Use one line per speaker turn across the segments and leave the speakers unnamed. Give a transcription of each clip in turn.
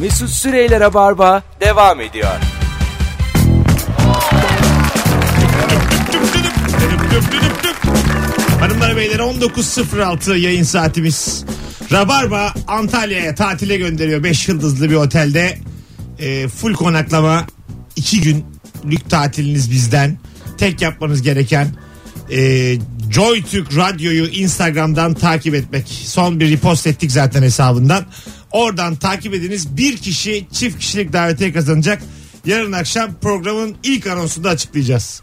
Mesut Süreyler'e barba devam ediyor.
Hanımlar beyler 19.06 yayın saatimiz. Rabarba Antalya'ya tatile gönderiyor 5 yıldızlı bir otelde. Ee, full konaklama 2 günlük tatiliniz bizden. Tek yapmanız gereken e, JoyTürk Radyo'yu Instagram'dan takip etmek. Son bir repost ettik zaten hesabından. Oradan takip ediniz. Bir kişi çift kişilik davetiye kazanacak. Yarın akşam programın ilk anonsunda açıklayacağız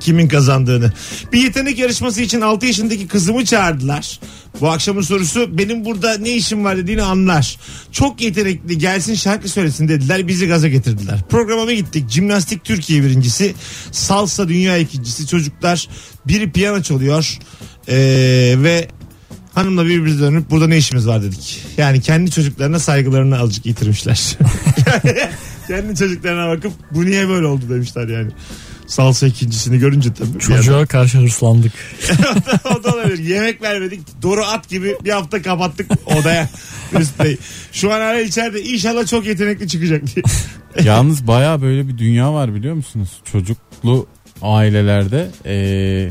kimin kazandığını. Bir yetenek yarışması için 6 yaşındaki kızımı çağırdılar. Bu akşamın sorusu benim burada ne işim var dediğini anlar. Çok yetenekli gelsin şarkı söylesin dediler bizi gaza getirdiler. Programa bir gittik. Jimnastik Türkiye birincisi. Salsa dünya ikincisi. Çocuklar biri piyano çalıyor. Ee, ve hanımla birbirimize dönüp burada ne işimiz var dedik. Yani kendi çocuklarına saygılarını azıcık yitirmişler. kendi çocuklarına bakıp bu niye böyle oldu demişler yani. Salsa ikincisini görünce tabii. bir
Çocuğa karşı hırslandık.
o da olabilir. Yemek vermedik. Doğru at gibi bir hafta kapattık odaya. Mesut Bey. Şu an hala içeride. İnşallah çok yetenekli çıkacak diye.
Yalnız baya böyle bir dünya var biliyor musunuz? Çocuklu ailelerde eee,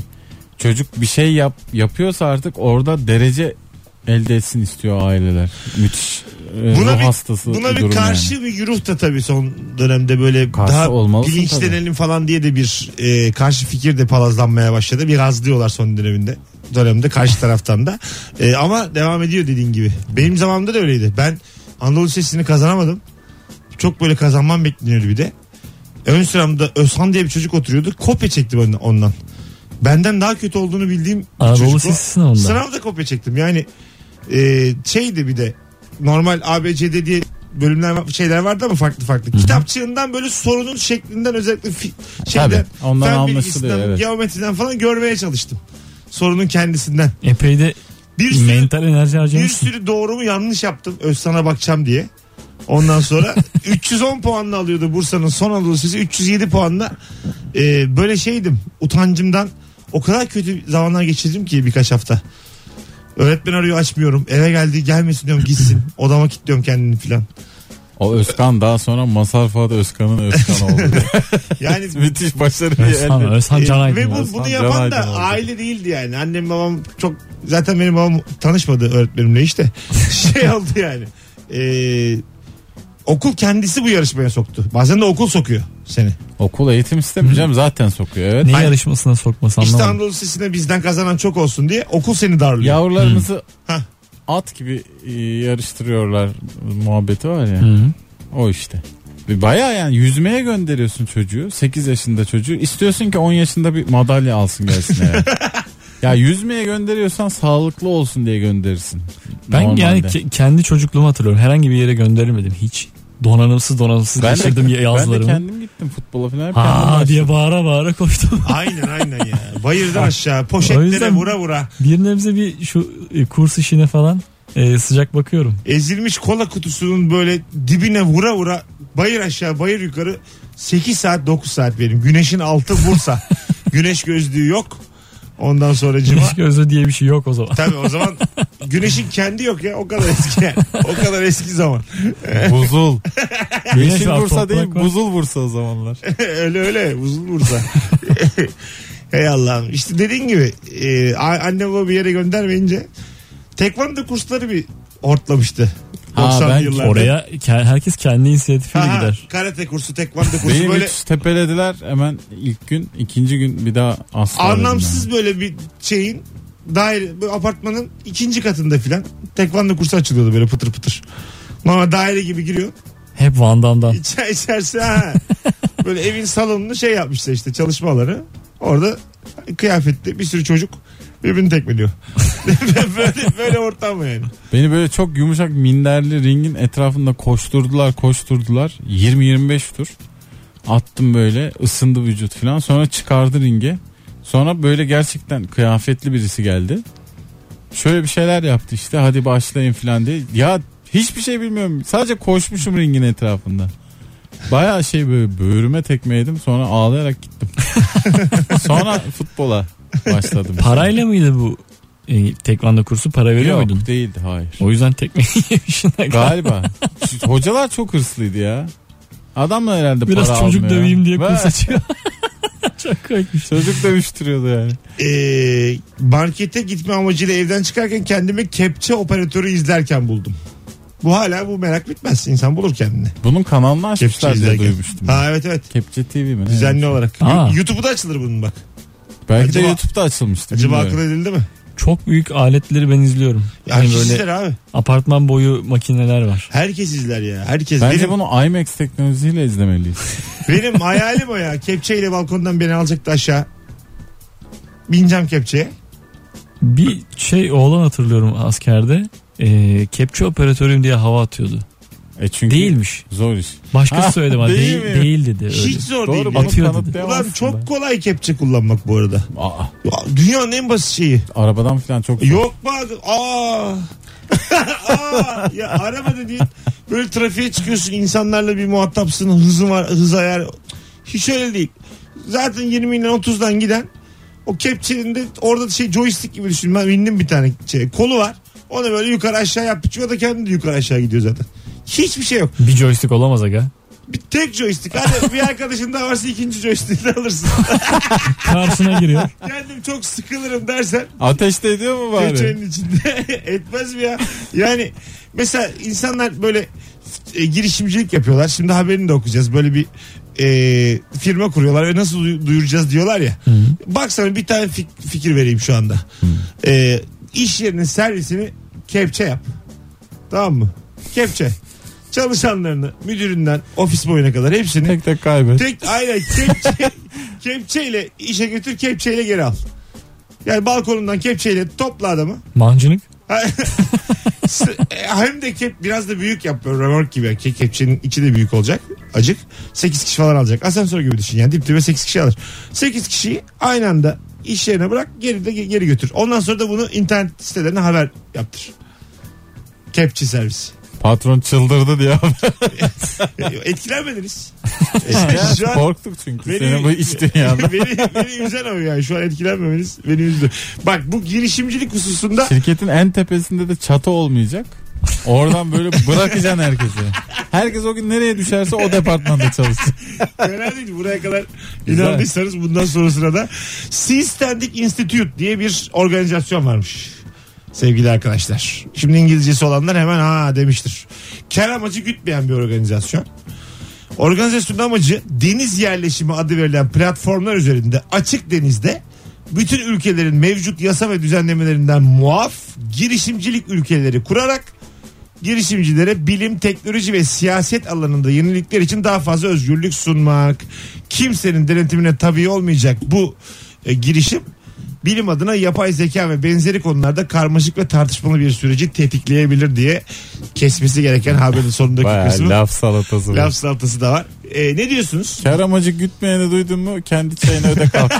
çocuk bir şey yap yapıyorsa artık orada derece elde etsin istiyor aileler. Müthiş. Eee,
Buna
ruh
bir,
hastası
buna bir
durum yani.
karşı bir güruh da tabii son dönemde böyle
Karşı
daha
olmalısın
bilinçlenelim falan diye de bir e, karşı fikir de palazlanmaya başladı. Biraz diyorlar son döneminde dönemde karşı taraftan da. E, ama devam ediyor dediğin gibi. Benim zamanımda da öyleydi. Ben Anadolu Lisesi'ni kazanamadım. Çok böyle kazanmam bekleniyordu bir de. Ön sıramda Özhan diye bir çocuk oturuyordu. Kopya çekti benden ondan. Benden daha kötü olduğunu bildiğim bir
Anadolu
çocuk o.
Lisesi sınavında.
Sınavda kopya çektim. Yani e, şeydi bir de normal ABCD diye bölümler şeyler vardı ama farklı farklı. Kitapçığından böyle sorunun şeklinden özellikle fi, şeyden
Tabii, ondan
fen
anlaşılıyor,
bilgisinden,
evet.
geometriden falan görmeye çalıştım. Sorunun kendisinden.
Epey de
Bir sürü,
mental enerji
bir
harcamışsın.
sürü doğru mu yanlış yaptım. Özsan'a bakacağım diye. Ondan sonra 310 puanla alıyordu Bursa'nın son Anadolu Lisesi. 307 puanla e, böyle şeydim. Utancımdan o kadar kötü zamanlar geçirdim ki birkaç hafta. Öğretmen arıyor açmıyorum. Eve geldi gelmesin diyorum gitsin. Odama kilitliyorum kendini filan.
O Özkan daha sonra Masar Fuat Özkan'ın Özkan oldu.
Yani
Müthiş başarı
Özhan,
elde.
Özhan
e,
Can
ve
Aydın.
bu,
ya.
bunu
Can
yapan da
Aydın oldu.
aile değildi yani. Annem babam çok zaten benim babam tanışmadı öğretmenimle işte. şey oldu yani. E, okul kendisi bu yarışmaya soktu. Bazen de okul sokuyor seni.
Okul eğitim istemeyeceğim zaten sokuyor. Evet.
Ne
Ay-
yarışmasına sokması
İşte
anlamadım.
Anadolu Lisesi'ne bizden kazanan çok olsun diye okul seni darlıyor.
Yavrularımızı
Hah.
at gibi e, yarıştırıyorlar muhabbeti var ya.
Hı.
O işte. Bir Bayağı yani yüzmeye gönderiyorsun çocuğu. 8 yaşında çocuğu. İstiyorsun ki 10 yaşında bir madalya alsın gelsin eve. ya yüzmeye gönderiyorsan sağlıklı olsun diye gönderirsin.
Ben
Normalde.
yani ke- kendi çocukluğumu hatırlıyorum. Herhangi bir yere gönderilmedim hiç. Donanımsız donanımsız
ben
geçirdim
de, ben de
yazlarımı.
kendim gittim futbola falan. Hep kendim
ha
başladım.
diye bağıra bağıra koştum.
aynen aynen ya. Bayırdan aşağı
O
poşetlere
yüzden-
vura vura.
bir nebze bir şu e, kurs işine falan e, sıcak bakıyorum.
Ezilmiş kola kutusunun böyle dibine vura vura bayır aşağı bayır yukarı 8 saat 9 saat benim. Güneşin altı Bursa. Güneş gözlüğü yok. Ondan sonra cima.
Güneş gözlü diye bir şey yok o zaman.
Tabii o zaman güneşin kendi yok ya o kadar eski yani. O kadar eski zaman.
Buzul. Yeşil
var,
Bursa
toprak
değil
var.
buzul Bursa o zamanlar.
öyle öyle uzun Bursa. Hey Allah'ım. İşte dediğin gibi e, a- anne baba bir yere göndermeyince tekvando kursları bir hortlamıştı.
Ha,
90'lı
ben
yıllarda.
Oraya ke- herkes kendi inisiyatifiyle
Aha,
gider.
karate kursu, tekvando kursu
Benim
böyle
hiç tepelediler hemen ilk gün ikinci gün bir daha asla.
anlamsız böyle bir şeyin daire böyle apartmanın ikinci katında filan tekvando kursu açılıyordu böyle pıtır pıtır. Normal daire gibi giriyor.
Hep Van Damme'dan.
İçer, içerisi ha. Böyle evin salonunu şey yapmışlar işte çalışma alanı. Orada kıyafetli bir sürü çocuk birbirini tekmeliyor. böyle, böyle ortam mı yani?
Beni böyle çok yumuşak minderli ringin etrafında koşturdular koşturdular. 20-25 tur attım böyle ısındı vücut falan sonra çıkardı ringe. Sonra böyle gerçekten kıyafetli birisi geldi. Şöyle bir şeyler yaptı işte hadi başlayın falan diye. Ya hiçbir şey bilmiyorum sadece koşmuşum ringin etrafında. Bayağı şey böyle böğrüme tekme yedim sonra ağlayarak gittim. sonra futbola başladım.
Parayla mıydı bu e, tekvando kursu para veriyor
Yok
muydun?
değildi hayır.
O yüzden tekmeyi yemişsin.
Galiba. Şu Hocalar çok hırslıydı ya. Adam da herhalle
Biraz
para
çocuk
almıyor.
döveyim diye
Ve
kurs açıyor. Çok komikmiş.
Çocuk dövüştürüyordu yani.
Ee, markete gitme amacıyla evden çıkarken kendimi kepçe operatörü izlerken buldum. Bu hala bu merak bitmez. İnsan bulur kendini.
Bunun kanalını
Kepçe
açmışlar diye
izlerken.
duymuştum.
Ha evet evet.
Kepçe TV mi?
Düzenli
Evet.
olarak.
Aa.
YouTube'da açılır bunun bak.
Belki
Acaba-
de YouTube'da açılmıştı.
Acaba
bilmiyorum.
akıl edildi mi?
Çok büyük aletleri ben izliyorum.
Ya
hani
herkes
böyle
izler abi.
apartman boyu makineler var.
Herkes izler ya. Herkes.
Bence
benim,
bunu IMAX teknolojisiyle izlemeliyiz.
benim hayalim o ya. Kepçeyle balkondan beni alacaktı aşağı. Bineceğim kepçeye.
Bir şey oğlan hatırlıyorum askerde. E, kepçe operatörüyüm diye hava atıyordu.
E çünkü
Değilmiş.
Zor iş.
Başkası
Ha,
söyledi bana.
değil
Değil,
mi?
değil dedi. Öyle.
Hiç zor
Ee, Doğru
değil.
bunu
Atıyor dedi.
Ya.
kanıtlayamazsın.
Ulan çok
da.
kolay kepçe kullanmak bu arada.
Aa,
Ya, Dünyanın en basit şeyi.
arabadan falan çok
Yok bak. Aa. Aa. Ya araba dediğin böyle trafiğe çıkıyorsun insanlarla bir muhatapsın hızın var hız ayar. Hiç öyle değil. Zaten 20 ile 30'dan giden o kepçenin de orada şey joystick gibi düşün. Ben bindim bir tane şey, kolu var. Onu böyle yukarı aşağı yaptırıyor. O da kendi de yukarı aşağı gidiyor zaten. Hiçbir şey yok.
Bir joystick olamaz aga.
Bir tek joystick. Hadi bir arkadaşın daha varsa ikinci joystick'i de alırsın.
Karşısına giriyor.
Kendim çok sıkılırım dersen
Ateşte ediyor mu bari?
Göçenin içinde etmez mi ya? Yani mesela insanlar böyle e, girişimcilik yapıyorlar. Şimdi haberini de okuyacağız. Böyle bir e, firma kuruyorlar ve nasıl duyu- duyuracağız diyorlar ya. Baksana bir tane fik- fikir vereyim şu anda. E, iş yerinin servisini kepçe yap. Tamam mı? Kepçe. Çalışanlarını müdüründen ofis boyuna kadar hepsini
Tek tek kaybet.
Tek aynen kepçe, kepçeyle işe götür kepçeyle geri al. Yani balkonundan kepçeyle topla adamı.
Mancınık.
S- e, Hem de kep biraz da büyük yap böyle römork gibi. Ke- Kepçenin içi de büyük olacak. Acık. 8 kişi falan alacak. Asansör gibi düşün yani. Dip dibe 8 kişi alır. 8 kişiyi aynı anda iş yerine bırak geri de ge- geri götür. Ondan sonra da bunu internet sitelerine haber yaptır. Kepçe servisi.
Patron çıldırdı diye.
E, Etkilenmediniz. Şu an-
Korktuk çünkü. Senin bu iç dünyanda.
beni, beni üzen o yani. Şu an etkilenmemeniz beni üzdü. Bak bu girişimcilik hususunda
Şirketin en tepesinde de çatı olmayacak. Oradan böyle bırakacaksın herkesi. Herkes o gün nereye düşerse o departmanda çalışacak.
fena değil. Buraya kadar
Güzel.
inandıysanız bundan sonrasına da Sea Standing Institute diye bir organizasyon varmış. Sevgili arkadaşlar. Şimdi İngilizcesi olanlar hemen ha demiştir. Kar amacı gütmeyen bir organizasyon. Organizasyonun amacı deniz yerleşimi adı verilen platformlar üzerinde açık denizde bütün ülkelerin mevcut yasa ve düzenlemelerinden muaf girişimcilik ülkeleri kurarak girişimcilere bilim, teknoloji ve siyaset alanında yenilikler için daha fazla özgürlük sunmak. Kimsenin denetimine tabi olmayacak bu e, girişim bilim adına yapay zeka ve benzeri konularda karmaşık ve tartışmalı bir süreci tetikleyebilir diye kesmesi gereken haberin sonundaki
Baya
kısmı.
laf salatası. var.
Laf salatası da var. E, ne diyorsunuz?
Kar amacı gütmeyeni duydun mu kendi çayını öde kalk.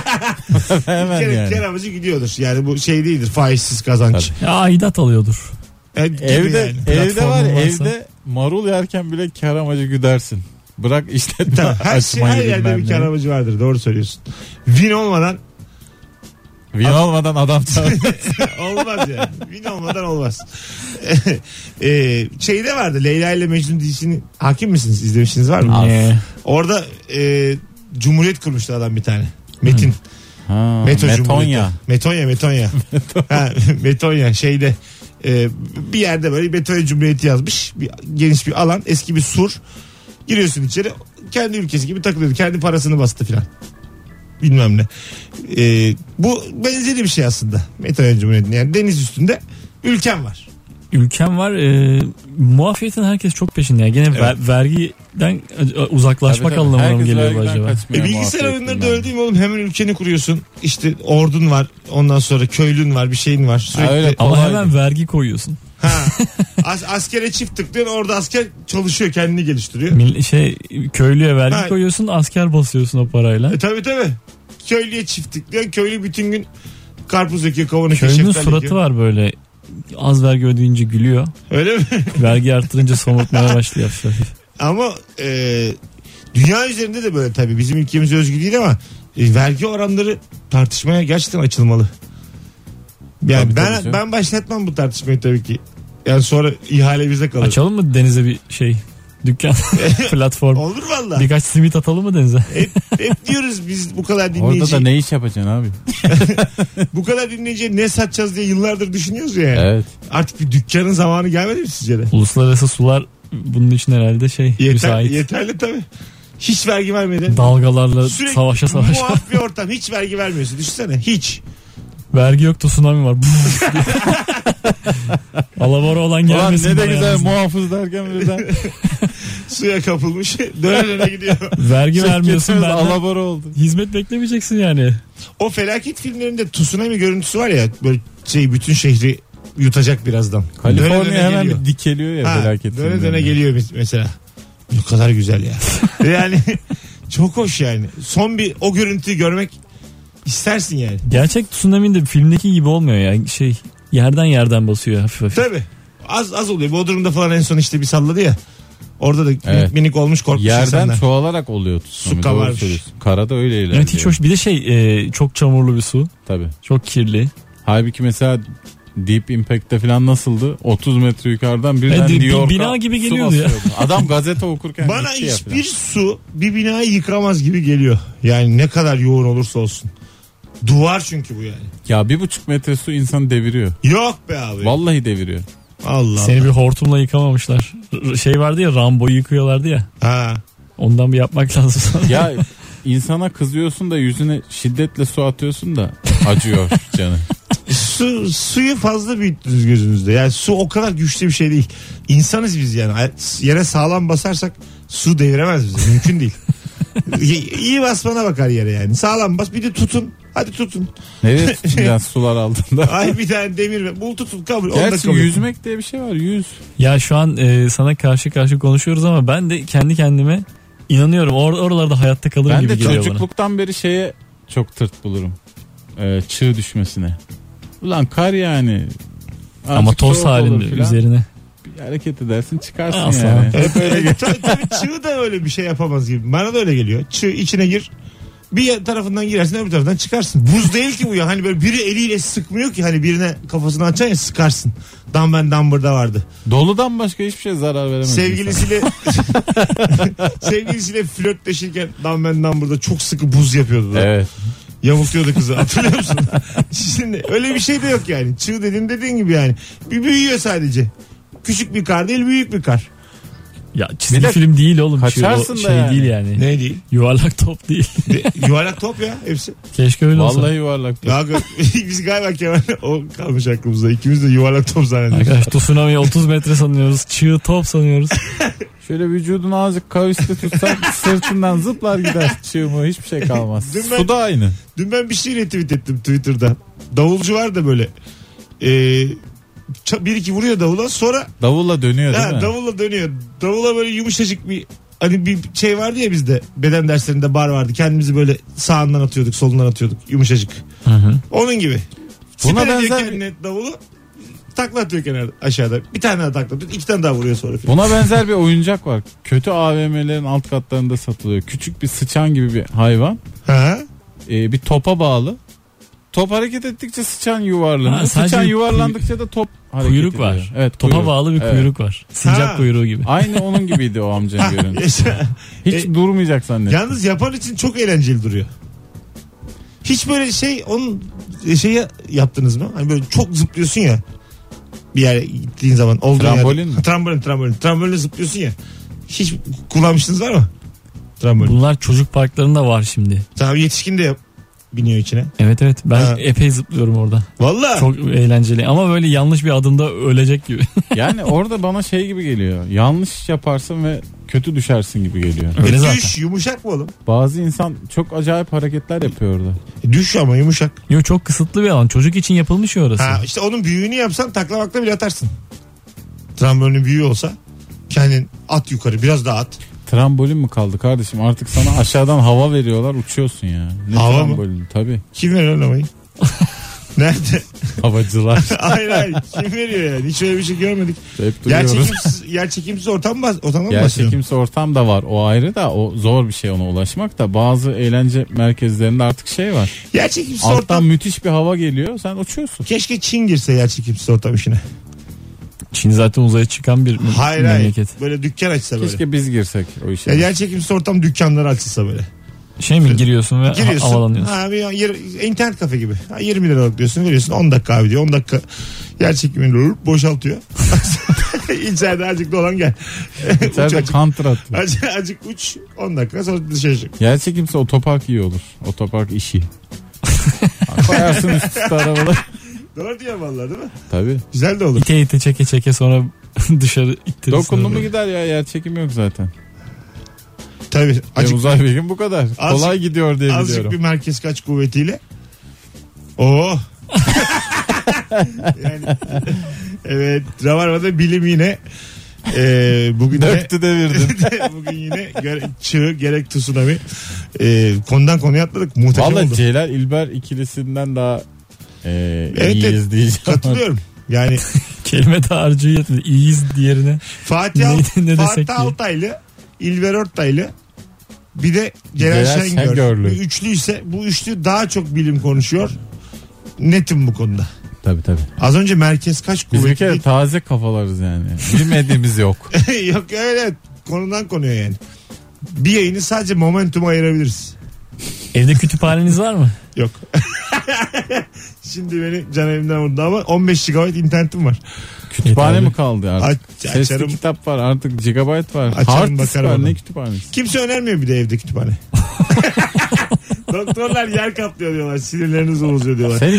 Bir
Hemen
kere
yani.
kar amacı gidiyordur. Yani bu şey değildir faizsiz kazanç.
Ya aidat alıyordur.
E, gibi
Evde
yani.
evde var ya,
Platformun varsa.
evde marul yerken bile kar amacı güdersin. Bırak işletme
Tamam, her, şey, her
açmayı
yerde
bilmem
bir
ne.
kar amacı vardır. Doğru söylüyorsun. Vin olmadan
Vin olmadan adam çalıyor.
olmaz yani. Vin olmadan olmaz. e, şeyde vardı Leyla ile Mecnun dizisini hakim misiniz? İzlemişsiniz var mı?
Ee,
Orada e, Cumhuriyet kurmuştu adam bir tane. Metin.
ha,
Meto
Metonya.
Cumhuriyeti. Metonya, Metonya. ha, Metonya şeyde e, bir yerde böyle Metonya Cumhuriyeti yazmış. Bir, geniş bir alan, eski bir sur. Giriyorsun içeri. Kendi ülkesi gibi takılıyordu. Kendi parasını bastı filan. Bilmem ne. E, bu benzeri bir şey aslında. Metonya Cumhuriyeti. Yani deniz üstünde ülken var. E,
ülkem var. E, muafiyetin herkes çok peşinde. ya. Gene ver- vergiden e, uzaklaşmak
Tabii, tabii.
anlamına mı
Herkes
geliyor bu
vergiden
acaba?
kaçmaya
E, bilgisayar
muhabbet
oyunları da
bilmem ne.
öyle değil mi oğlum? Hemen ülkeni kuruyorsun. İşte ordun var. Ondan sonra köylün var. Bir şeyin var. Sürekli.
Ha, öyle
Ama
kolay.
hemen vergi koyuyorsun.
Ha. As- askere çift tıklıyorsun orada asker çalışıyor kendini geliştiriyor.
Mil- Şey köylüye vergi
Ha.
koyuyorsun, asker basıyorsun o parayla.
E tabi tabi. Köylüye çift tıklıyorsun. Köylü bütün gün karpuz ekiyor kavun ekiyor.
Köylünün
şeftali
suratı
ekiyor.
var böyle. Az vergi ödeyince gülüyor.
Öyle mi?
Vergi arttırınca somurtmaya başlıyor. hafif hafif.
ama e, dünya üzerinde de böyle tabi bizim ülkemiz özgü değil ama e, vergi oranları tartışmaya gerçekten açılmalı. Yani
Tabii,
ben
tabii canım.
ben başlatmam bu tartışmayı tabii ki. Yani sonra ihale bize kalır.
Açalım mı denize bir şey? Dükkan, platform.
Olur valla.
Birkaç simit atalım mı denize?
hep, hep diyoruz biz bu kadar
Orada
dinleyici
da ne iş yapacaksın abi?
bu kadar dinleyiciye ne satacağız diye yıllardır düşünüyoruz ya.
Evet.
Artık bir dükkanın zamanı gelmedi mi sizce de?
Uluslararası sular bunun için herhalde şey
Yeter,
müsait.
yeterli tabii. Hiç vergi vermedi.
Dalgalarla savaşa savaşa.
muaf bir ortam. Hiç vergi vermiyorsun. Düşünsene hiç.
Vergi yok da tsunami var. Buf diye. Alabora olan
Ulan
gelmesin.
ne de
bana
güzel
yalnız.
muhafız derken birden
Suya kapılmış. döne döne gidiyor.
Vergi vermiyorsun
Getirdiniz,
benden.
alabora oldu.
Hizmet beklemeyeceksin yani.
O felaket filmlerinde tsunami görüntüsü var ya. Böyle şey bütün şehri yutacak birazdan. Döne döne
Kaliforniya hemen
geliyor.
bir dikeliyor ya
Ha,
felaket.
Döne döne
filmlerinde.
geliyor mes- mesela. Ne kadar güzel ya. yani çok hoş yani. Son bir o görüntüyü görmek istersin yani.
Gerçek tsunami de filmdeki gibi olmuyor yani şey yerden yerden basıyor hafif hafif.
Tabii. Az az oluyor. Bodrum'da falan en son işte bir salladı ya. Orada da minik
Evet.
minik olmuş korkmuş
Yerden
insanlar.
çoğalarak oluyor
Su
tsunami.
kabarmış.
Doğru söylüyorsun. Karada öyle ilerliyor.
Evet hiç hoş bir de şey e, çok çamurlu bir su
Tabii.
çok kirli.
Halbuki mesela Deep Impact'te falan nasıldı? 30 metre yukarıdan birden
Evet, bir-
New York'a
bina gibi
su
geliyordu ya.
basıyordu. Adam gazete okurken
Bana
gitti ya
hiçbir su bir binayı yıkamaz gibi geliyor. Yani ne kadar yoğun olursa olsun. Duvar çünkü bu yani.
falan. Ya bir buçuk metre su insanı deviriyor.
Yok be abi.
Vallahi deviriyor.
Allah.
Seni bir hortumla yıkamamışlar. R- şey vardı ya Rambo'yu yıkıyorlardı ya.
Ha.
Ondan bir yapmak lazım.
Ya insana kızıyorsun da yüzüne şiddetle su atıyorsun da acıyor canı.
Su, suyu fazla büyüttünüz gözünüzde. Yani su o kadar güçlü bir şey değil. İnsanız biz yani. Ay- Yere sağlam basarsak su deviremez bizi. Mümkün değil. İyi- İyi basmana bakar yere yani. Sağlam bas bir de tutun. Hadi tutun.
Nereye tutacaksın sular altında?
Ay bir tane demir ver. Bul tutun kabul. Onu da
Gerçi
kabul.
yüzmek diye bir şey var. Yüz.
ya şu an e, sana karşı karşı konuşuyoruz ama ben de kendi kendime inanıyorum. Or- oralarda hayatta kalırım
Ben
gibi
de
geliyor bana.
çocukluktan beri şeye çok tırt bulurum. Ee, çığ düşmesine. Ulan kar yani.
Ama
Azıcık
toz
soğuk olur
halinde
filan.
üzerine.
Bir hareket edersin çıkarsın
Aslan.
yani.
Hep öyle tabii, tabii çığ da öyle bir şey yapamaz gibi. Bana da öyle geliyor. Çığ içine gir. Bir tarafından girersin öbür taraftan çıkarsın. Buz değil ki bu ya. Hani böyle biri eliyle sıkmıyor ki. Hani birine kafasını açan ya sıkarsın. Dumbbell Dumber'da vardı.
Doludan başka hiçbir şey zarar veremez. insan.
Sevgilisiyle sevgilisiyle flörtleşirken Dumbbell Dumber'da çok sıkı buz yapıyordu. da.
Evet.
Yamultuyordu kızı hatırlıyor musun? Şimdi öyle bir şey de yok yani. Çığ dediğin dediğin gibi yani. Bir büyüyor sadece. Küçük bir kar değil büyük bir kar.
Ya çizgi
Bir de
film değil oğlum. Şey- o
kaçarsın da
şey
yani.
değil yani.
Ne değil?
Yuvarlak top değil.
Yuvarlak top ya hepsi.
Keşke öyle olsa.
Vallahi yuvarlak.
Ya gö- biz galiba Kemal o kalmış aklımızda. İkimiz de yuvarlak top zannediyoruz.
Arkadaş tsunami 30 metre sanıyoruz. Çığ top sanıyoruz.
Şöyle vücudunu azıcık kaviste tutsan sırtından zıplar gider. Çığ mı hiçbir şey kalmaz.
Dün ben-
Su da aynı.
Dün ben bir şey retweet ettim Twitter'da. Davulcu var da böyle. Ee, ça- bir iki vuruyor davula sonra
Davulla dönüyor değil
ha,
mi?
davulla dönüyor. Davula böyle yumuşacık bir hani bir şey vardı ya bizde beden derslerinde bar vardı. Kendimizi böyle sağından atıyorduk solundan atıyorduk yumuşacık. Onun gibi.
Buna
Buna benzer
benzer bir-
kendine davulu takla atıyor kenarda aşağıda. Bir tane daha takla atıyor. iki tane daha vuruyor sonra.
Buna benzer bir oyuncak var. Kötü AVM'lerin alt katlarında satılıyor. Küçük bir sıçan gibi bir hayvan.
Ha?
Ee, bir topa bağlı. Top hareket ettikçe sıçan yuvarlanıyor.
Ha, sadece
sıçan
bir
yuvarlandıkça da top hareket
Kuyruk
ediyor.
var.
Evet,
Topa
kuyruk.
bağlı bir
Evet.
kuyruk var. Sincap
Ha.
kuyruğu gibi.
Aynı onun gibiydi o amcanın görüntüsü.
Yaşa.
Hiç
E,
durmayacak zannettim.
Yalnız yapan için çok eğlenceli duruyor. Hiç böyle şey onun şeyi yaptınız mı? Hani böyle çok zıplıyorsun ya. Bir yere gittiğin zaman olduğun
Trambolin
yerde.
mi?
Trambolin trambolin. Trambolinle zıplıyorsun ya. Hiç kullanmışsınız var mı? Trambolin.
Bunlar çocuk parklarında var şimdi.
Tamam yetişkin de yap. Biniyor içine.
Evet evet ben
Ha.
epey zıplıyorum orada.
Valla.
Çok eğlenceli ama böyle yanlış bir adımda ölecek gibi.
Yani orada bana şey gibi geliyor. Yanlış yaparsın ve kötü düşersin gibi geliyor.
E,
Öyle zaten.
düş yumuşak mı oğlum?
Bazı insan çok acayip hareketler yapıyor orada.
E, düş ama yumuşak.
Yo çok kısıtlı bir alan. Çocuk için yapılmış ya orası.
Ha, işte onun büyüğünü yapsan taklamakla bile atarsın. Trambolinin büyüğü olsa kendin at yukarı biraz daha at.
Trambolin mi kaldı kardeşim? Artık sana aşağıdan hava veriyorlar uçuyorsun ya. Ne
Hava mı?
trambolin? Tabii.
Kim veriyor oynamayı? Nerede?
Havacılar.
hayır hayır kim veriyor yani? Hiç öyle bir şey görmedik.
Hep duyuyoruz.
Gerçekimsiz, gerçekimsiz ortam bas, ortamdan mı bahsediyorum?
Gerçekimsi ortam da var. O ayrı da o zor bir şey ona ulaşmak da bazı eğlence merkezlerinde artık şey var.
Gerçekimsiz
Alttan
ortam.
müthiş bir hava geliyor. Sen uçuyorsun.
Keşke Çin girse gerçekimsiz ortam işine.
Çin zaten uzaya çıkan bir
Hayır hayır.
memleket.
Böyle dükkan açsa böyle.
Keşke biz girsek o işe.
Ya gerçekimsiz ortam dükkanları açılsa böyle.
Şey mi giriyorsun ve ha-
Giriyorsun.
havalanıyorsun.
Ha, bir yer- internet kafe gibi. Ha, 20 liralık diyorsun veriyorsun 10 dakika abi diyor. 10 dakika yer çekimini boşaltıyor. İçeride azıcık dolan gel. uç
İçeride
azıcık.
counter atıyor.
Azıcık, azıcık uç 10 dakika sonra dışarı çık.
Gerçekimsi otopark iyi olur. Otopark işi. Koyarsın üst üste arabaları.
Doğru diyor vallahi değil mi?
Tabii.
Güzel de olur.
İte ite çeke çeke sonra dışarı ittirirsin.
Dokundu mu
Böyle.
gider ya yer çekimi yok zaten.
Tabii.
Acık,
Azıcık,
uzay bilgim bu kadar. Kolay gidiyor diye
azıcık
biliyorum.
bir merkez kaç kuvvetiyle. Oo. yani, evet. Ravarva'da bilim yine e, bugün de
Döktü devirdin.
Bugün yine gere- çığ gerek tsunami. Ee, konudan konuya atladık. Muhteşem
Valla
oldu.
Celal İlber ikilisinden daha e,
Evet,
iyiyiz diyeceğim.
Katılıyorum. Yani
Kelime dağarcığı yetmedi. İyiyiz diğerine.
Fatih, Al-
Ne- ne desek ki?
Fatih Altaylı, İlber Ortaylı bir de Ceren,
Ceren
Şengör.
Şengörlü.
Bir Üçlü ise bu üçlü daha çok bilim konuşuyor. Netim bu konuda.
Tabii tabii.
Az önce merkez kaç
Biz bir
kuvvetli?
kere taze kafalarız yani. Bilmediğimiz yok.
Yok öyle konudan konuya yani. Bir yayını sadece momentum ayırabiliriz.
Evde kütüphaneniz var mı?
Yok. Şimdi beni can evimden vurdu ama 15 GB internetim var.
Kütüphane
Yeterli.
mi kaldı artık?
Aç-
Sesli
açarım.
kitap var artık gigabyte var.
Açarım,
Hard disk
bakarım
var
ona.
ne kütüphanesi?
Kimse önermiyor bir de evde kütüphane. Doktorlar yer kaplıyor diyorlar. Sinirleriniz bozuyor diyorlar.
Senin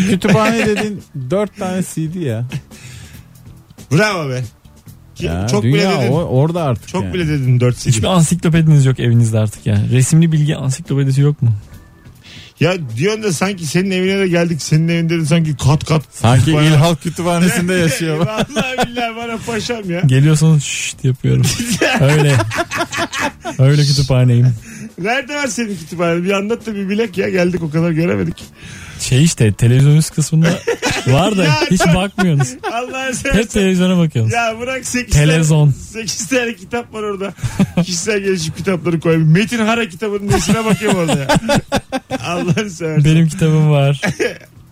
kütüphane dediğin 4 tane CD ya.
Bravo be. Ki-
ya
çok
dünya
bile dedin.
o- orada artık
Çok
yani.
bile dedin 4 CD.
Hiçbir ansiklopediniz yok evinizde artık yani. Resimli bilgi ansiklopedisi yok mu?
Ya diyorsun da sanki senin evine de geldik. Senin evinde de sanki kat kat.
Sanki
Bana-
İl Halk Kütüphanesi'nde yaşıyor.
Vallahi billahi bana paşam ya.
Geliyorsanız şşt yapıyorum. Öyle. Öyle kütüphaneyim.
Nerede var senin kütüphane? Bir anlat da bir bilek ya. Geldik o kadar göremedik.
Şey işte televizyon üst kısmında var da
Ya
hiç
dur.
bakmıyorsunuz.
Allah'ını
Hep
seversen.
televizyona bakıyorsunuz.
Ya bırak 8
Televizyon.
8 tane kitap var orada. Kişisel gelişim kitapları koymuş. Metin Hara kitabının nesine bakıyorum orada ya. Allah'ını seversen.
Benim kitabım var.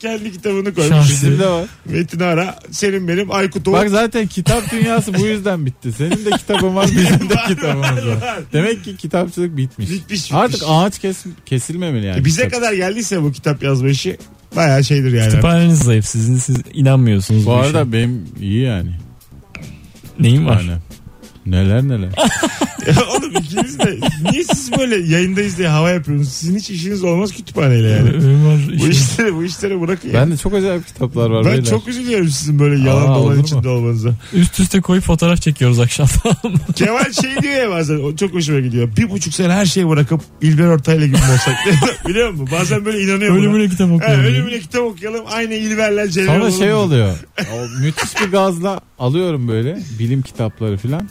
Kendi kitabını koymuş.
Şans.
Bizim de var.
Metin Ara, senin benim Aykut Oğuz.
Bak zaten kitap dünyası bu yüzden bitti. Senin de kitabın var bizim de
Var,
kitabımız
var,
var.
var.
Demek ki kitapçılık bitmiş.
Bitmiş, bitmiş.
Artık ağaç kes, kesilmemeli yani.
E bize
kitap.
kadar geldiyse bu kitap yazma işi bayağı şeydir yani.
Kütüphaneniz zayıf sizin. Siz inanmıyorsunuz.
Bu
işe.
arada benim iyi yani.
neyim var?
Yani. Neler neler.
Oğlum ikiniz de niye siz böyle yayındayız diye hava yapıyorsunuz? Sizin hiç işiniz olmaz kütüphaneyle yani.
Öyle var
bu
işte.
işleri bu işleri bırakın. ya.
şey. ben de çok acayip kitaplar var.
Ben
beyler.
çok üzülüyorum sizin böyle yalan
Aa, olur
dolan
mu?
içinde olmanıza.
Üst üste koyup fotoğraf çekiyoruz akşam.
Kemal şey diyor ya bazen o çok hoşuma gidiyor. Bir buçuk sene her şeyi bırakıp İlber Ortaylı gibi mi olsak. Biliyor musun? Bazen böyle inanıyorum. buna.
Ölümüne kitap
Ha,
okuyorum.
ölümüne kitap okuyalım. Aynı İlber'le Celal
Sonra
olalım.
şey oluyor. O müthiş bir gazla alıyorum böyle bilim kitapları filan.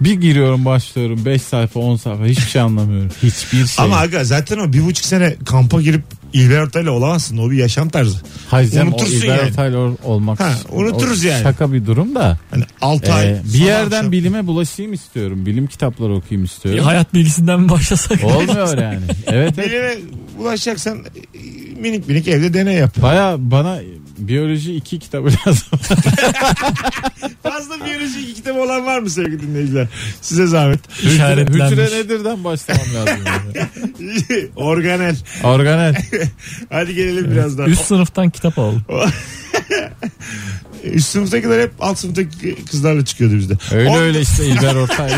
Bir giriyorum başlıyorum 5 sayfa 10 sayfa hiçbir şey anlamıyorum. Hiçbir şey.
Ama aga zaten o bir buçuk sene kampa girip İlber Ortaylı olamazsın. O bir yaşam tarzı.
Hayır canım,
unutursun
o İlber
yani.
Ortaylı ol- olmak.
Ha, unuturuz
o
yani.
Şaka bir durum da.
Hani 6
Ee,
ay.
bir
sabah
yerden
akşam.
bilime bulaşayım istiyorum. Bilim kitapları okuyayım
Bir
istiyorum.
hayat bilgisinden mi başlasak?
Olmuyor yani. Evet evet.
Bilime ulaşacaksan e, minik minik evde deney yap.
Baya bana biyoloji 2 kitabı lazım.
Fazla biyolojik kitap olan var mı sevgili dinleyiciler? Size zahmet.
Hücre
İşaretlenmiş.
nedirden başlamam lazım. yani.
Organel.
Organel.
Hadi gelelim birazdan.
Üst sınıftan kitap alalım.
Üst sınıftakiler hep alt sınıftaki kızlarla çıkıyordu bizde.
Öyle
On-
öyle işte İlber Ortaylı.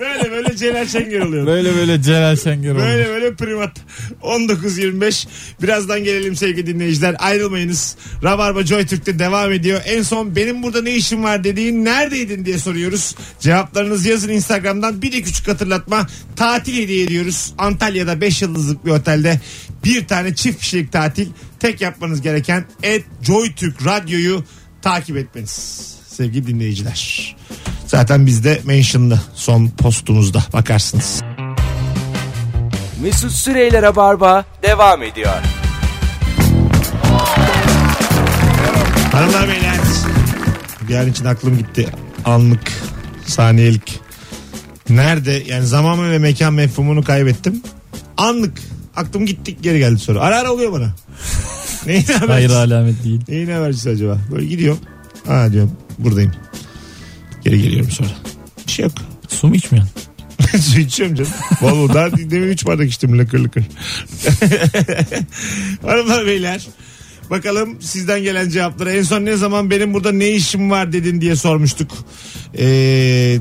Böyle böyle Celal Şengör oluyordu.
Böyle böyle Celal Şengör olmuş.
Böyle böyle primat. 19.25. Birazdan gelelim sevgili dinleyiciler. Ayrılmayınız. Rabarba Joy Türk'te devam ediyor. En son benim burada ne işim var dediğin neredeydin diye soruyoruz. Cevaplarınızı yazın Instagram'dan. Bir de küçük hatırlatma. Tatil hediye ediyoruz. Antalya'da 5 yıldızlık bir otelde bir tane çift kişilik tatil. Tek yapmanız gereken et Joy Türk radyoyu takip etmeniz. Sevgili dinleyiciler. Zaten bizde mentionlı son postumuzda bakarsınız.
Mesut Süreyler'e barba devam ediyor.
Hanımlar beyler. Bir an için aklım gitti. Anlık, saniyelik. Nerede? Yani zaman ve mekan mefhumunu kaybettim. Anlık. Aklım gittik geri geldi soru. Ara ara oluyor bana. Neyin
Hayır
habercisi?
alamet değil.
Neyin habercisi acaba? Böyle gidiyorum. Ha diyorum buradayım. Geri geliyorum sonra. Bir şey yok.
Su mu içmiyorsun?
Su içiyorum canım. Bol bol. Daha demin 3 bardak içtim lakır lakır. Hanımlar beyler. Bakalım sizden gelen cevaplara. En son ne zaman benim burada ne işim var dedin diye sormuştuk. Ee,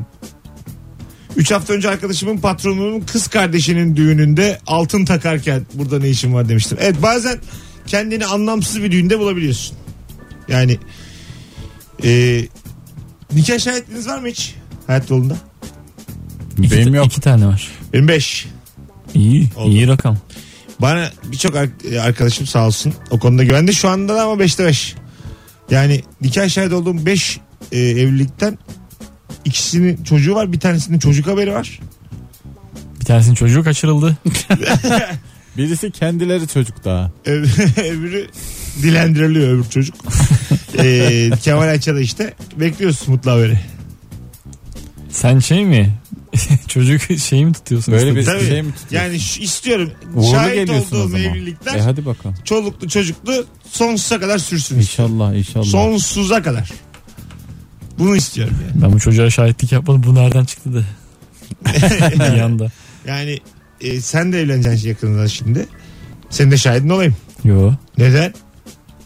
3 hafta önce arkadaşımın patronunun kız kardeşinin düğününde altın takarken burada ne işim var demiştim. Evet bazen kendini anlamsız bir düğünde bulabiliyorsun. Yani e, nikah şahitliğiniz var mı hiç hayat yolunda?
İki,
Benim
ta-
yok.
iki tane var.
25.
İyi.
Oldu.
iyi rakam.
Bana birçok ar- e, arkadaşım sağ olsun o konuda güvende. Şu anda da ama 5'te 5. Yani nikah şahit olduğum 5 evlilikten ikisinin çocuğu var bir tanesinin çocuk haberi var.
Bir tanesinin çocuğu kaçırıldı.
Birisi kendileri çocuk daha.
Ö- Öbürü dilendiriliyor öbür çocuk. e, Kemal Ayça'da işte bekliyoruz mutlu haberi.
Sen şey mi? Çocuk şeyi mi tutuyorsun?
Böyle bir
Tabii.
şey mi tutuyorsun?
Yani şu- istiyorum
Uğurlu
şahit
geliyorsun o
olduğum
zaman.
evlilikler
E hadi bakalım.
çoluklu çocuklu sonsuza kadar sürsün. istiyorum.
İnşallah inşallah.
Sonsuza kadar. Bunu istiyorum yani.
Ben bu çocuğa şahitlik yapmadım. Bu nereden çıktı da? bir anda.
Yani e, sen de evleneceksin yakında şimdi. Senin de şahidin olayım.
Yo.
Neden?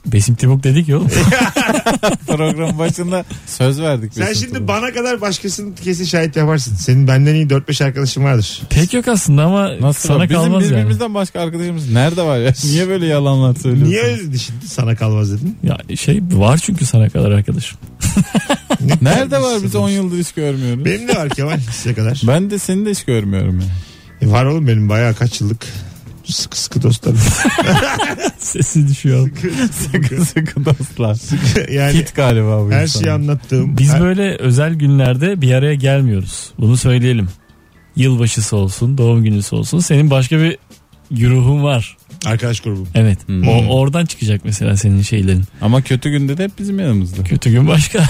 Besim Timok dedik ya oğlum.
Program başında söz verdik.
Sen
Mesut'a.
şimdi bana kadar başkasını kesin şahit yaparsın. Senin benden iyi 4-5 arkadaşın vardır.
Pek yok aslında ama
Nasıl
sana
bak? Bizim
kalmaz yani.
birbirimizden başka arkadaşımız nerede var ya? Niye böyle yalanlar söylüyorsun?
Niye öyle dedin şimdi sana kalmaz dedin?
Ya şey var çünkü sana kadar arkadaşım.
Ne
Nerede var
terbiyesiz
biz 10 yıldır hiç görmüyoruz.
Benim de var Kemal size kadar.
Ben de seni de hiç görmüyorum ya.
E, var oğlum benim bayağı kaç yıllık sıkı sıkı dostlarım.
Sesi düşüyor.
sıkı sıkı dostlar.
yani
Kit galiba bu
her şey
insan.
şeyi anlattığım.
Biz
her-
böyle özel günlerde bir araya gelmiyoruz. Bunu söyleyelim. Yılbaşısı olsun, doğum günüsü olsun. Senin başka bir güruhun var.
Arkadaş grubum.
Evet.
Hmm.
O oradan çıkacak mesela senin şeylerin.
Ama kötü günde de hep bizim yanımızda.
Kötü gün başka.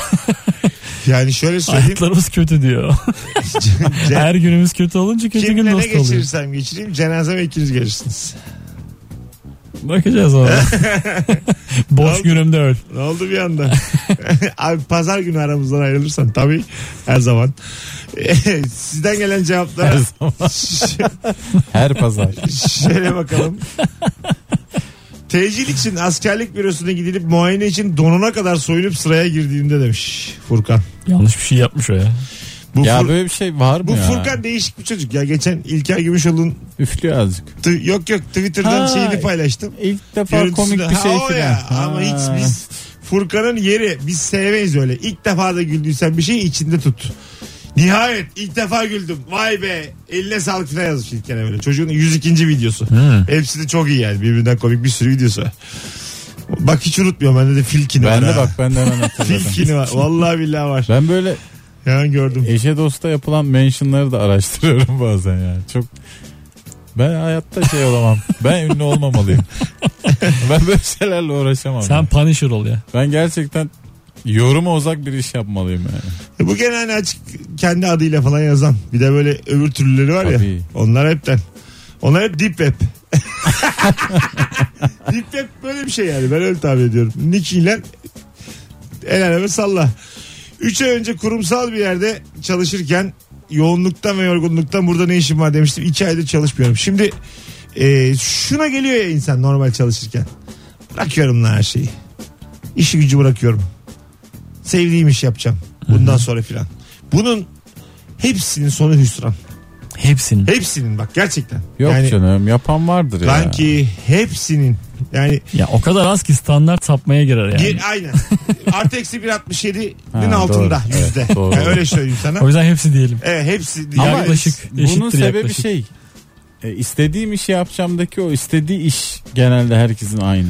Yani şöyle söyleyeyim.
Hayatlarımız kötü diyor.
Ce-
Her günümüz kötü olunca kötü gün
Kimle ne
dost oluyor.
geçirirsem geçireyim cenazeme ikiniz gelirsiniz.
Bakacağız ona. Boş
Oldu.
günümde öl.
Ne oldu bir anda? Abi pazar günü aramızdan ayrılırsan tabii her zaman. Sizden gelen
Her
cevaplara
zaman. Her pazar.
şöyle bakalım. Tecil için askerlik bürosuna gidilip muayene için donuna kadar soyunup sıraya girdiğimde demiş Furkan.
Yanlış bir şey yapmış o ya.
Bu,
ya
Fur-
böyle bir şey var mı
bu
ya?
Furkan değişik bir çocuk ya. Geçen İlker Gümüşoğlu'nun
Üflüyor azıcık.
t- yok yok Twitter'dan
Ha,
şeyini paylaştım.
İlk defa komik
Görüntüsünü-
bir
Ha,
şey
o ya. Ama hiç biz Furkan'ın yeri biz sevmeyiz öyle. İlk defa da güldüysen bir şey içinde tut. Nihayet ilk defa güldüm. Vay be. Eline sağlık falan yazmış ilk kere böyle. Çocuğun 102. videosu. Hepsi de çok iyi yani. Birbirinden komik bir sürü videosu var. Bak hiç unutmuyorum. Bende de filkini var.
Ben de
ha.
bak ben de hemen hatırladım.
Filkini var. Vallahi billahi var.
ben böyle
Hemen gördüm.
eşe dosta yapılan mentionları da araştırıyorum bazen yani. Çok ben hayatta şey olamam. Ben ünlü olmamalıyım. ben böyle şeylerle uğraşamam.
Sen
yani.
Punisher ol ya.
Ben gerçekten yoruma uzak bir iş yapmalıyım yani.
Bu gene hani açık kendi adıyla falan yazan. Bir de böyle öbür türlüleri var ya.
Tabii.
Onlar hepten. Onlar hep deep web. deep web böyle bir şey yani. Ben öyle tabir ediyorum. Nick ile el aleme salla. 3 ay önce kurumsal bir yerde çalışırken yoğunluktan ve yorgunluktan burada ne işim var demiştim. 2 aydır çalışmıyorum. Şimdi e, şuna geliyor ya insan normal çalışırken. Bırakıyorum lan her şeyi. İşi gücü bırakıyorum. Sevdiğim iş yapacağım. Bundan sonra filan. Bunun hepsinin sonu hüsran.
Hepsinin.
Hepsinin bak gerçekten.
Yok
yani,
canım yapan vardır ya.
Lan ki hepsinin. Yani,
Ya o kadar az ki standart sapmaya girer yani.
bir- aynen. Artı eksi 1.67'nin
Ha,
altında
doğru.
yüzde.
Evet, doğru.
Yani öyle söyleyeyim sana.
O yüzden hepsi diyelim.
Evet hepsi.
Ama
yani-
yaklaşık.
Bunun
Eşittir
sebebi
yaklaşık.
şey. e, istediğim işi yapacağımdaki o istediği iş genelde herkesin aynı.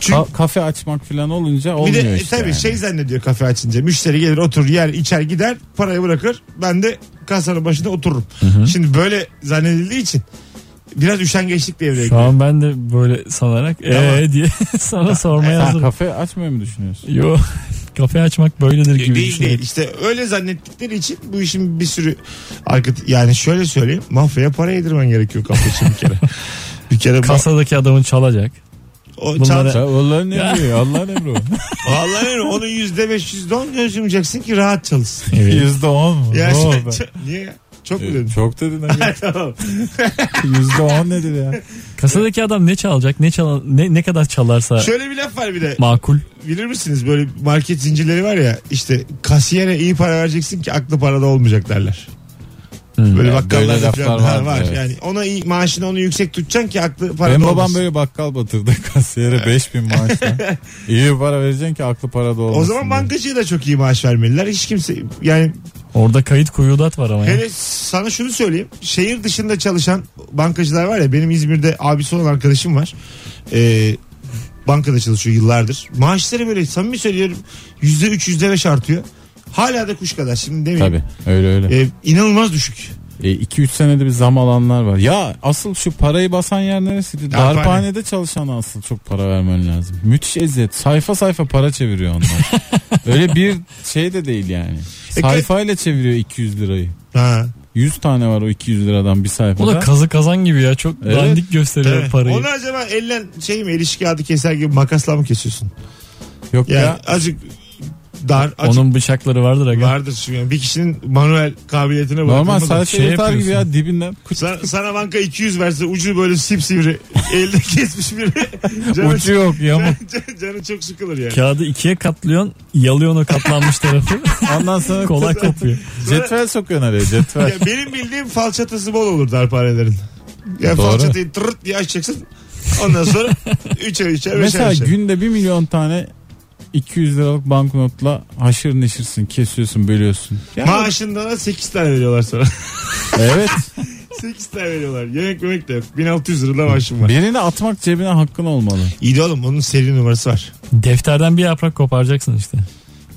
Çünkü-
Ka- kafe açmak falan olunca
bir
olmuyor
de
işte.
tabii
yani.
şey zannediyor kafe açınca. Müşteri gelir otur yer içer gider parayı bırakır. Ben de kasanın başında otururum. Şimdi böyle zannedildiği için Biraz üşengeçlik devreye
Şu
giriyor.
an ben de böyle sanarak ee diye sana sormaya
Sen
hazırım.
kafe açmayı mı düşünüyorsun?
Yo kafe açmak böyledir gibi
değil
düşünüyorum.
değil. İşte öyle zannettikleri için bu işin bir sürü arka yani şöyle söyleyeyim mafyaya para yedirmen gerekiyor kafa için bir kere. bir kere ma-
Kasadaki adamın çalacak.
o
bunlara-
çanta-
Sen Allah'ın emri. Allah'ın emri o.
Vallahi öyle. onun yüzde beş yüzde on gözümeceksin ki rahat çalışsın.
Evet.
Yüzde on mu?
Ya şey
Ne
sen-
oldu?
ç- niye? ya? Çok mu
Ee,
dedin?
Çok dedin abi.
tamam.
Yüzde on nedir ya?
Kasadaki adam ne çalacak ne çala, ne, ne kadar çalarsa
Şöyle bir laf var bir de.
makul.
Bilir misiniz böyle market zincirleri var ya işte kasiyere iyi para vereceksin ki aklı parada olmayacak derler.
Hmm.
Böyle
Ya böyle
bakkallarda
laflar
falan ha,
vardı,
var.
evet.
Yani ona iyi, maaşını onu yüksek tutacaksın ki aklı parada
Benim babam
olmasın.
böyle bakkal batırdı kasiyere 5000 maaşla. İyi para vereceksin ki aklı parada olmasın.
O zaman
diye.
bankacıya da çok iyi maaş vermeliler. Hiç kimse yani
Orada kayıt kuyudat var ama ya.
hele sana şunu söyleyeyim. Şehir dışında çalışan bankacılar var ya benim İzmir'de abisi olan arkadaşım var. Ee, bankada çalışıyor yıllardır. Maaşları böyle samimi söylüyorum yüzde üç yüzde beş artıyor. Hala da kuş kadar şimdi demeyeyim.
Tabii öyle öyle.
Ee, inanılmaz düşük.
2-3 E, senede bir zam alanlar var. Ya asıl şu parayı basan yer neresiydi?
Darphane.
Darphanede çalışana asıl çok para vermen lazım. Müthiş eziyet. Sayfa sayfa para çeviriyor onlar. Öyle bir şey de değil yani.
E,
Sayfayla çeviriyor 200 lirayı.
Ha.
100 tane var o 200 liradan bir
Bu da
sayfada.
kazı kazan gibi ya çok
Evet.
dandik gösteriyor
Evet.
parayı.
Onu acaba elle şey mi ilişki kağıdı keser gibi makasla mı kesiyorsun?
Yok
Yani
ya.
azıcık dar, azıcık
Onun bıçakları vardır aga.
vardır çünkü. Bir kişinin manuel kabiliyetine
Normal
bırakılmadan-
sayfa
şey
yutar gibi
yapıyorsun.
ya dibinden.
Sana, sana banka 200 verse ucu böyle sipsivri elde kesmiş biri. canı,
Ucu yok ya.
canı, canı çok sıkılır yani.
Kağıdı ikiye katlıyorsun yalıyorsun o katlanmış tarafı.
Ondan sonra
Kolay kopuyor.
Cetvel sokuyorsun araya cetvel.
Ya benim bildiğim falçatası bol olur darphanelerin. Ya
Doğru.
falçatayı tırt diye açacaksın. Ondan sonra 3'e 3'e 5'e
Mesela
5'e.
günde 1 milyon tane 200 liralık banknotla haşır neşirsin, kesiyorsun, bölüyorsun. Ya-
Maaşından da 8 tane veriyorlar sana.
evet.
8 tane veriyorlar. Yemek yemek de yok. 1600 lira da maaşım var.
Birini atmak cebine hakkın olmalı.
İyi de oğlum onun seri numarası var.
Defterden bir yaprak koparacaksın işte.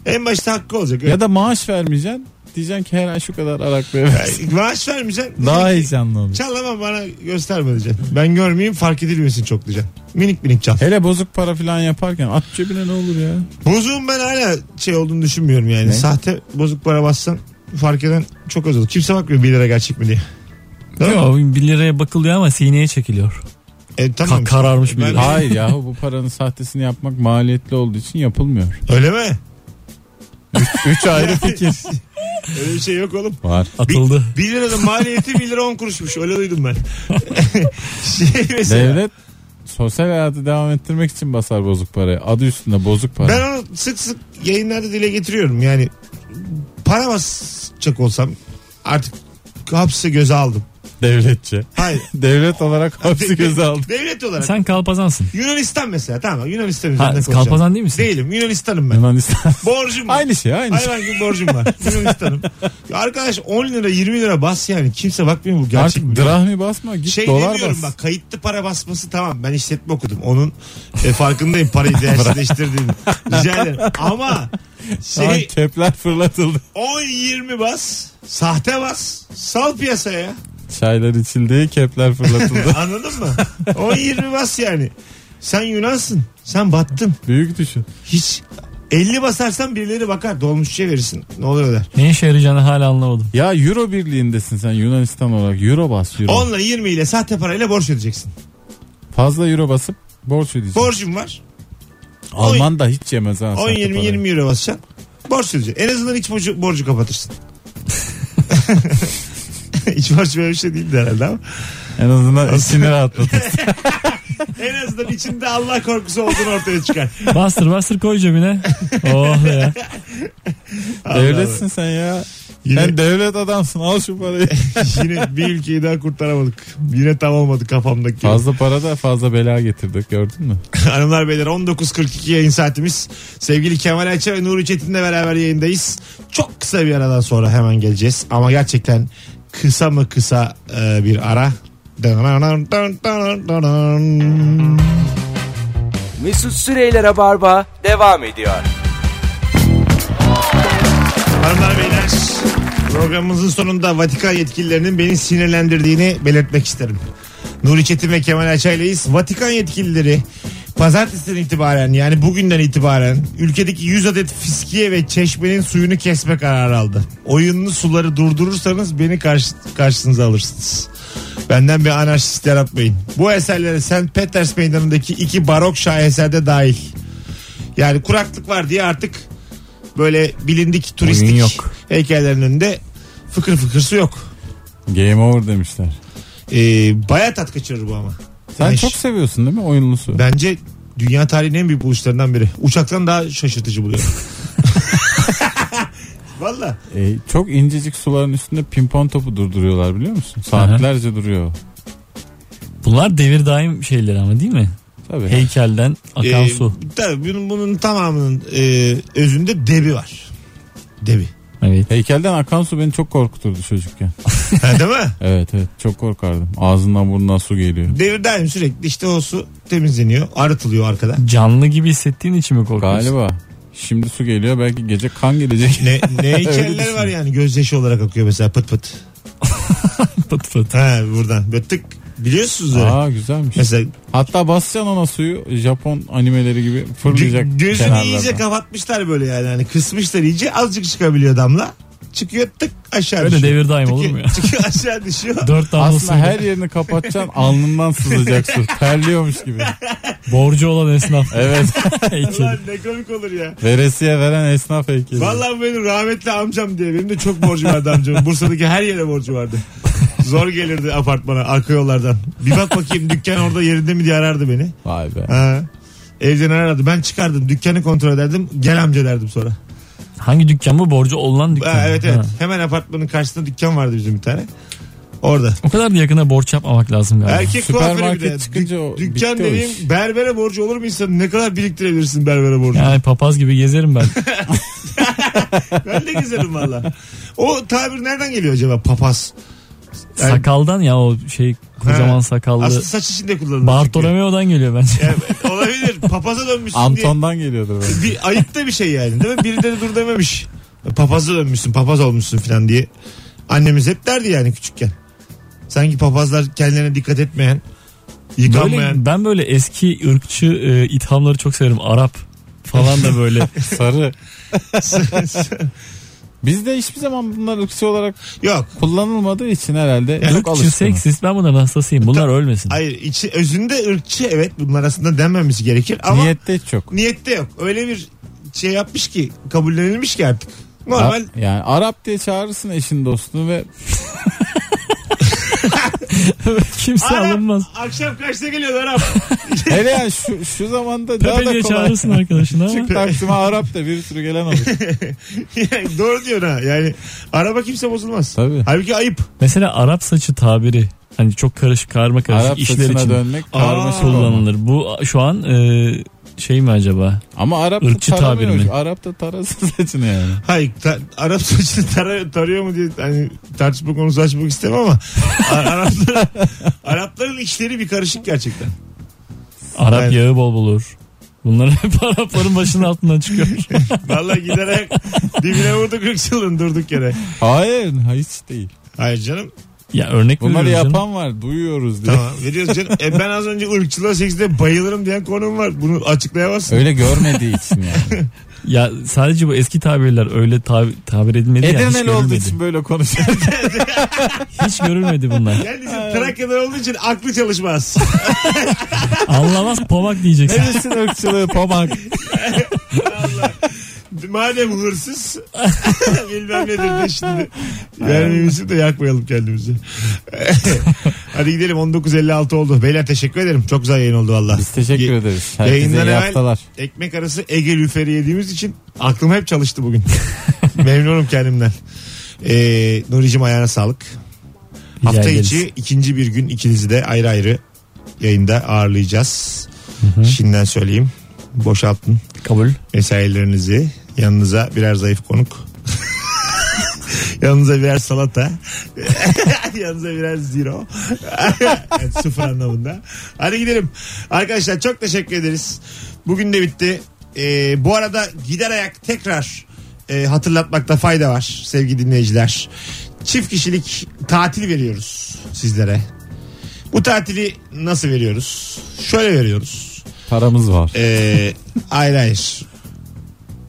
En başta hakkı olacak.
Ya da maaş vermeyeceksin. Diyeceksin ki her ay şu kadar arak ver.
Evet. Maaş vermeyeceksin.
Daha heyecanlı olur.
Çal ama bana gösterme diyeceksin. Ben görmeyeyim fark edilmesin çok diyeceksin. Minik minik çal.
Hele bozuk para falan yaparken at cebine ne olur ya?
Bozuğun ben hala şey olduğunu düşünmüyorum yani.
Ne?
Sahte bozuk para bassan fark eden çok az olur. Kimse bakmıyor 1 lira gerçek mi diye. Değil mi?
Yok 1 liraya bakılıyor ama sineye çekiliyor.
E, tamam.
Ka- kararmış bir
Ben-
lira.
Hayır yahu bu paranın sahtesini yapmak maliyetli olduğu için yapılmıyor.
Öyle mi?
Üç ayrı fikir.
Öyle bir şey yok oğlum.
Var.
Atıldı.
1 liranın maliyeti 1 lira 10 kuruşmuş. Öyle duydum ben. şey mesela.
Devlet sosyal hayatı devam ettirmek için basar bozuk parayı. Adı üstünde bozuk para.
Ben onu sık sık yayınlarda dile getiriyorum. Yani para basacak olsam artık hapse göze aldım.
Devletçe.
Hayır.
Devlet olarak hapsi göze aldı.
Devlet olarak.
Sen kalpazansın.
Yunanistan mesela tamam Yunanistan üzerinde
Ha,
konuşalım.
kalpazan değil misin?
Değilim Yunanistan'ım ben.
Yunanistan.
Borcum var.
aynı şey aynı şey.
Hayvan gibi borcum var. Yunanistan'ım. Ya arkadaş 10 lira 20 lira bas yani. Kimse bakmıyor bu gerçek mi?
Artık drahmi basma git
şey
dolar
demiyorum
bas.
bak kayıtlı para basması tamam ben işletme okudum onun e, farkındayım parayı değersizleştirdiğini rica ederim ama
Ay,
şey
kepler fırlatıldı.
10-20 bas sahte bas sal piyasaya
Çaylar içildi kepler fırlatıldı.
anladın mı 10-20 bas yani sen Yunansın sen battın
Büyük düşün.
hiç 50 basarsan birileri bakar dolmuşçuya verirsin ne oluyor der
Ne işe yarayacağını hala anlamadım.
Ya Euro birliğindesin sen Yunanistan olarak. Euro bas Euro.
10 ile 20 ile sahte parayla borç ödeyeceksin
Fazla Euro basıp borç ödeyeceksin.
borcum var
Alman da hiç yemez ha.
10 20 20 euro basacaksın. Borç ödeyeceksin. En azından iç borcu, borcu kapatırsın. iç borç böyle bir şey değildi herhalde ama.
En azından içini rahatlatır.
En azından içinde Allah korkusu olduğunu ortaya çıkar.
Bastır bastır koy cebine. Oh ya.
Allah
Devletsin sen ya.
Yine,
Sen devlet adamsın al şu parayı.
yine bir ülkeyi daha kurtaramadık. Yine tam olmadı kafamdaki.
fazla para da fazla bela getirdik gördün mü?
Hanımlar beyler 19.42 yayın saatimiz. Sevgili Kemal Ayça ve Nuri Çetin'le beraber yayındayız. Çok kısa bir aradan sonra hemen geleceğiz. Ama gerçekten kısa mı kısa e, bir ara.
Mesut Süreyler'e barba devam ediyor.
Hanımlar beyler programımızın sonunda Vatikan yetkililerinin beni sinirlendirdiğini belirtmek isterim. Nuri Çetin ve Kemal Açay'layız. Vatikan yetkilileri pazartesiden itibaren yani bugünden itibaren ülkedeki 100 adet fiskiye ve çeşmenin suyunu kesme kararı aldı. Oyunlu suları durdurursanız beni karşı, karşınıza alırsınız. Benden bir anarşist yaratmayın. Bu eserlere St. Peters Meydanı'ndaki iki barok şaheserde dahil. Yani kuraklık var diye artık böyle bilindik turistik
Oyun yok.
heykellerin önünde fıkır fıkır su yok.
Game over demişler.
Ee, baya tat kaçırır bu ama.
Sen
Yani
çok
ş-
seviyorsun değil mi oyunlu su?
Bence dünya tarihinin en büyük buluşlarından biri. Uçaktan daha şaşırtıcı buluyorum. Valla.
E, çok incecik suların üstünde pimpon topu durduruyorlar biliyor musun? Saatlerce duruyor.
Bunlar devir daim şeyleri ama değil mi?
Tabii.
Heykelden akan
Ee,
su.
Tabii bunun, bunun tamamının e, özünde debi var. Debi.
Evet.
Heykelden akan su beni çok korkuturdu çocukken.
Ha, değil mi?
Evet evet çok korkardım. Ağzından burnundan su geliyor.
Devir daim sürekli işte o su temizleniyor. Arıtılıyor arkada.
Canlı gibi hissettiğin için mi korkuyorsun?
Galiba. Şimdi su geliyor belki gece kan gelecek.
Ne, ne
Öyle
heykeller
düşünüyorum.
var yani gözyaşı olarak akıyor mesela pıt pıt.
Pıt pıt.
Ha buradan böyle tık biliyorsunuz öyle.
Aa güzelmiş.
Mesela
Hatta basacaksın ona suyu Japon animeleri gibi fırlayacak.
Gö- gözünü
kenarlardan.
iyice kapatmışlar böyle yani. Hani kısmışlar iyice azıcık çıkabiliyor damla. Çıkıyor tık aşağı
Öyle
düşüyor.
devir daim olur mu
Çıkıyor-
ya?
Çıkıyor aşağı düşüyor.
Dört
Aslında
damlasını
her yerini kapatacaksın alnından sızacak su. Terliyormuş gibi.
borcu olan esnaf
Evet.
heykeli.
Ulan ne komik olur ya.
Veresiye veren esnaf heykeli.
Vallahi bu benim rahmetli amcam diye. Benim de çok borcu vardı amcamın. Bursa'daki her yere borcu vardı. Zor gelirdi apartmana arka yollardan. Bir bak bakayım dükkan orada yerinde mi diye arardı beni.
Vay be.
Ha. Evden arardı. Ben çıkardım. Dükkanı kontrol ederdim. Gel amca derdim sonra.
Hangi dükkan bu? Borcu olan dükkan.
Ha, evet evet.
Ha.
Hemen apartmanın karşısında dükkan vardı bizim bir tane. Orada.
O kadar da yakına borç yapmamak lazım galiba.
Erkek
Süpermarket
kuaförü bir de.
çıkınca o-
Dük- dükkan
bitti o
dediğim
iş.
berbere borcu olur mu insan? Ne kadar biriktirebilirsin berbere borcu?
Yani papaz gibi gezerim ben.
Ben de gezerim valla. O tabir nereden geliyor acaba papaz? Yani-
Sakaldan ya o şey kocaman
Ha.
sakallı.
Aslında saç içinde kullanılır.
Bartolomeo'dan geliyor bence.
çünkü. Evet, olabilir. Papaza dönmüşsün diye.
Anton'dan geliyordur belki.
Bir ayıp da bir şey yani değil mi? Birileri dur dememiş. Papaza dönmüşsün, papaz olmuşsun falan diye. Annemiz hep derdi yani küçükken. Sanki papazlar kendilerine dikkat etmeyen, yıkanmayan.
Böyle, ben böyle eski ırkçı e, ithamları çok severim. Arap falan da böyle.
Sarı. Bizde hiçbir zaman bunlar ırkçı olarak
Yok.
kullanılmadığı için herhalde çok
Irkçı,
alışkın.
seksist ben bunların hastasıyım. Bunlar ölmesin.
Hayır, içi, özünde ırkçı evet bunlar aslında denmemesi gerekir ama
Niyette hiç yok.
niyette yok. Öyle bir şey yapmış ki, kabullenilmiş ki artık. Normal
A- yani Arap diye çağırırsın eşin dostunu ve
Kimse
Arap,
alınmaz.
Akşam kaçta geliyor Arap?
hele yani şu, şu zamanda daha da
Pepe diye
kolay.
çağırırsın arkadaşını ama.
Çık Taksim'e Arap da bir sürü gelen olur.
Yani Doğru diyorsun ha. Yani araba kimse bozulmaz.
Tabii.
Halbuki ayıp.
Mesela Arap saçı tabiri. Hani çok karışık, karma karışık
Arap
işler
saçına
için
dönmek karmaşık olmalı.
kullanılır. Bu şu an e, şey mi acaba?
Ama Arap da
Irkçı
taramıyor.
tabir mi?
Arap da tarasın saçını yani.
Hayır ta- Arap saçını tar- tarıyor mu diye hani tartışma konusu açmak istemem ama Ar- Arapların, Arapların işleri bir karışık gerçekten.
Arap
Evet.
yağı bol bulur. Bunlar hep Arapların başının altından çıkıyor.
Vallahi giderek dibine vurduk ırkçılığın durduk yere.
Hayır hiç değil.
Hayır canım.
ya örnek
Bunları
veriyorum canım.
yapan var duyuyoruz diye.
Tamam veriyoruz canım. E ben az önce ırkçılığa sekste bayılırım diyen konum var. Bunu açıklayamazsın.
Öyle görmediği için yani.
Ya sadece bu eski tabirler öyle tabi- tabir edilmedi ya, hiç
Edirneli olduğu
görülmedi.
için böyle konuşuyor.
Hiç görülmedi bunlar.
Kendisi Trakya'dan olduğu için aklı çalışmaz.
Anlamaz pomak diyeceksin.
ne bilsin ırkçılığı pomak.
Madem hırsız bilmem nedir de şimdi. Vermemizi de yakmayalım kendimizi. Hadi gidelim 19.56 oldu. Beyler teşekkür ederim. Çok güzel yayın oldu valla.
Biz teşekkür
Ye-
ederiz. Herkese
Yayından
iyi
evvel-
haftalar.
Ekmek arası Ege lüferi yediğimiz için aklım hep çalıştı bugün. Memnunum kendimden. Ee, Nuri'cim ayağına sağlık.
Rica
Hafta
ederiz.
içi ikinci bir gün ikinizi de ayrı ayrı yayında ağırlayacağız. Şimdiden söyleyeyim. Boşaltın
Kabul.
mesailerinizi yanınıza birer zayıf konuk yanınıza birer salata yanınıza birer zero Yani sıfır anlamında hadi gidelim arkadaşlar çok teşekkür ederiz bugün de bitti Ee, bu arada gider ayak tekrar e, hatırlatmakta fayda var sevgili dinleyiciler çift kişilik tatil veriyoruz sizlere Bu tatili nasıl veriyoruz? Şöyle veriyoruz.
Paramız var.
Ee, hayır hayır.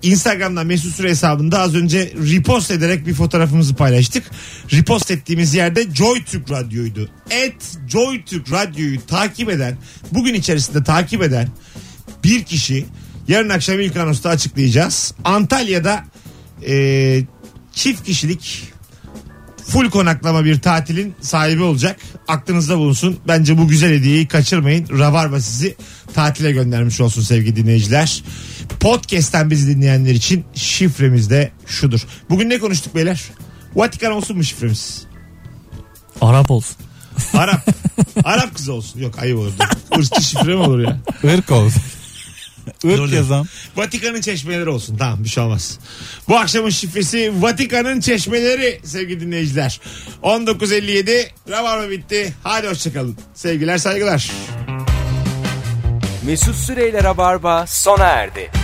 Instagram'dan Mesut Süre hesabında az önce repost ederek bir fotoğrafımızı paylaştık. Repost ettiğimiz yerde JoyTürk Radyo'ydu. Et JoyTürk Radyo'yu takip eden, bugün içerisinde takip eden bir kişi yarın akşam ilk anonsta açıklayacağız. Antalya'da e, çift kişilik full konaklama bir tatilin sahibi olacak. Aklınızda bulunsun. Bence bu güzel hediyeyi kaçırmayın. Rabarba sizi tatile göndermiş olsun sevgili dinleyiciler. Podcast'ten bizi dinleyenler için şifremiz de şudur. Bugün ne konuştuk beyler? Vatikan olsun mu şifremiz?
Arap olsun.
Arap. Arap kızı olsun. Yok ayıp olur. Irkçı şifre mi olur ya?
Irk olsun.
Dur,
Irk
dur.
yazan.
Vatikan'ın çeşmeleri olsun. Tamam bir şey olmaz. Bu akşamın şifresi Vatikan'ın çeşmeleri sevgili dinleyiciler. 19.57 Rabarba bitti. Hadi hoşçakalın. Sevgiler saygılar.
Mesut Süreyler'e barba sona erdi.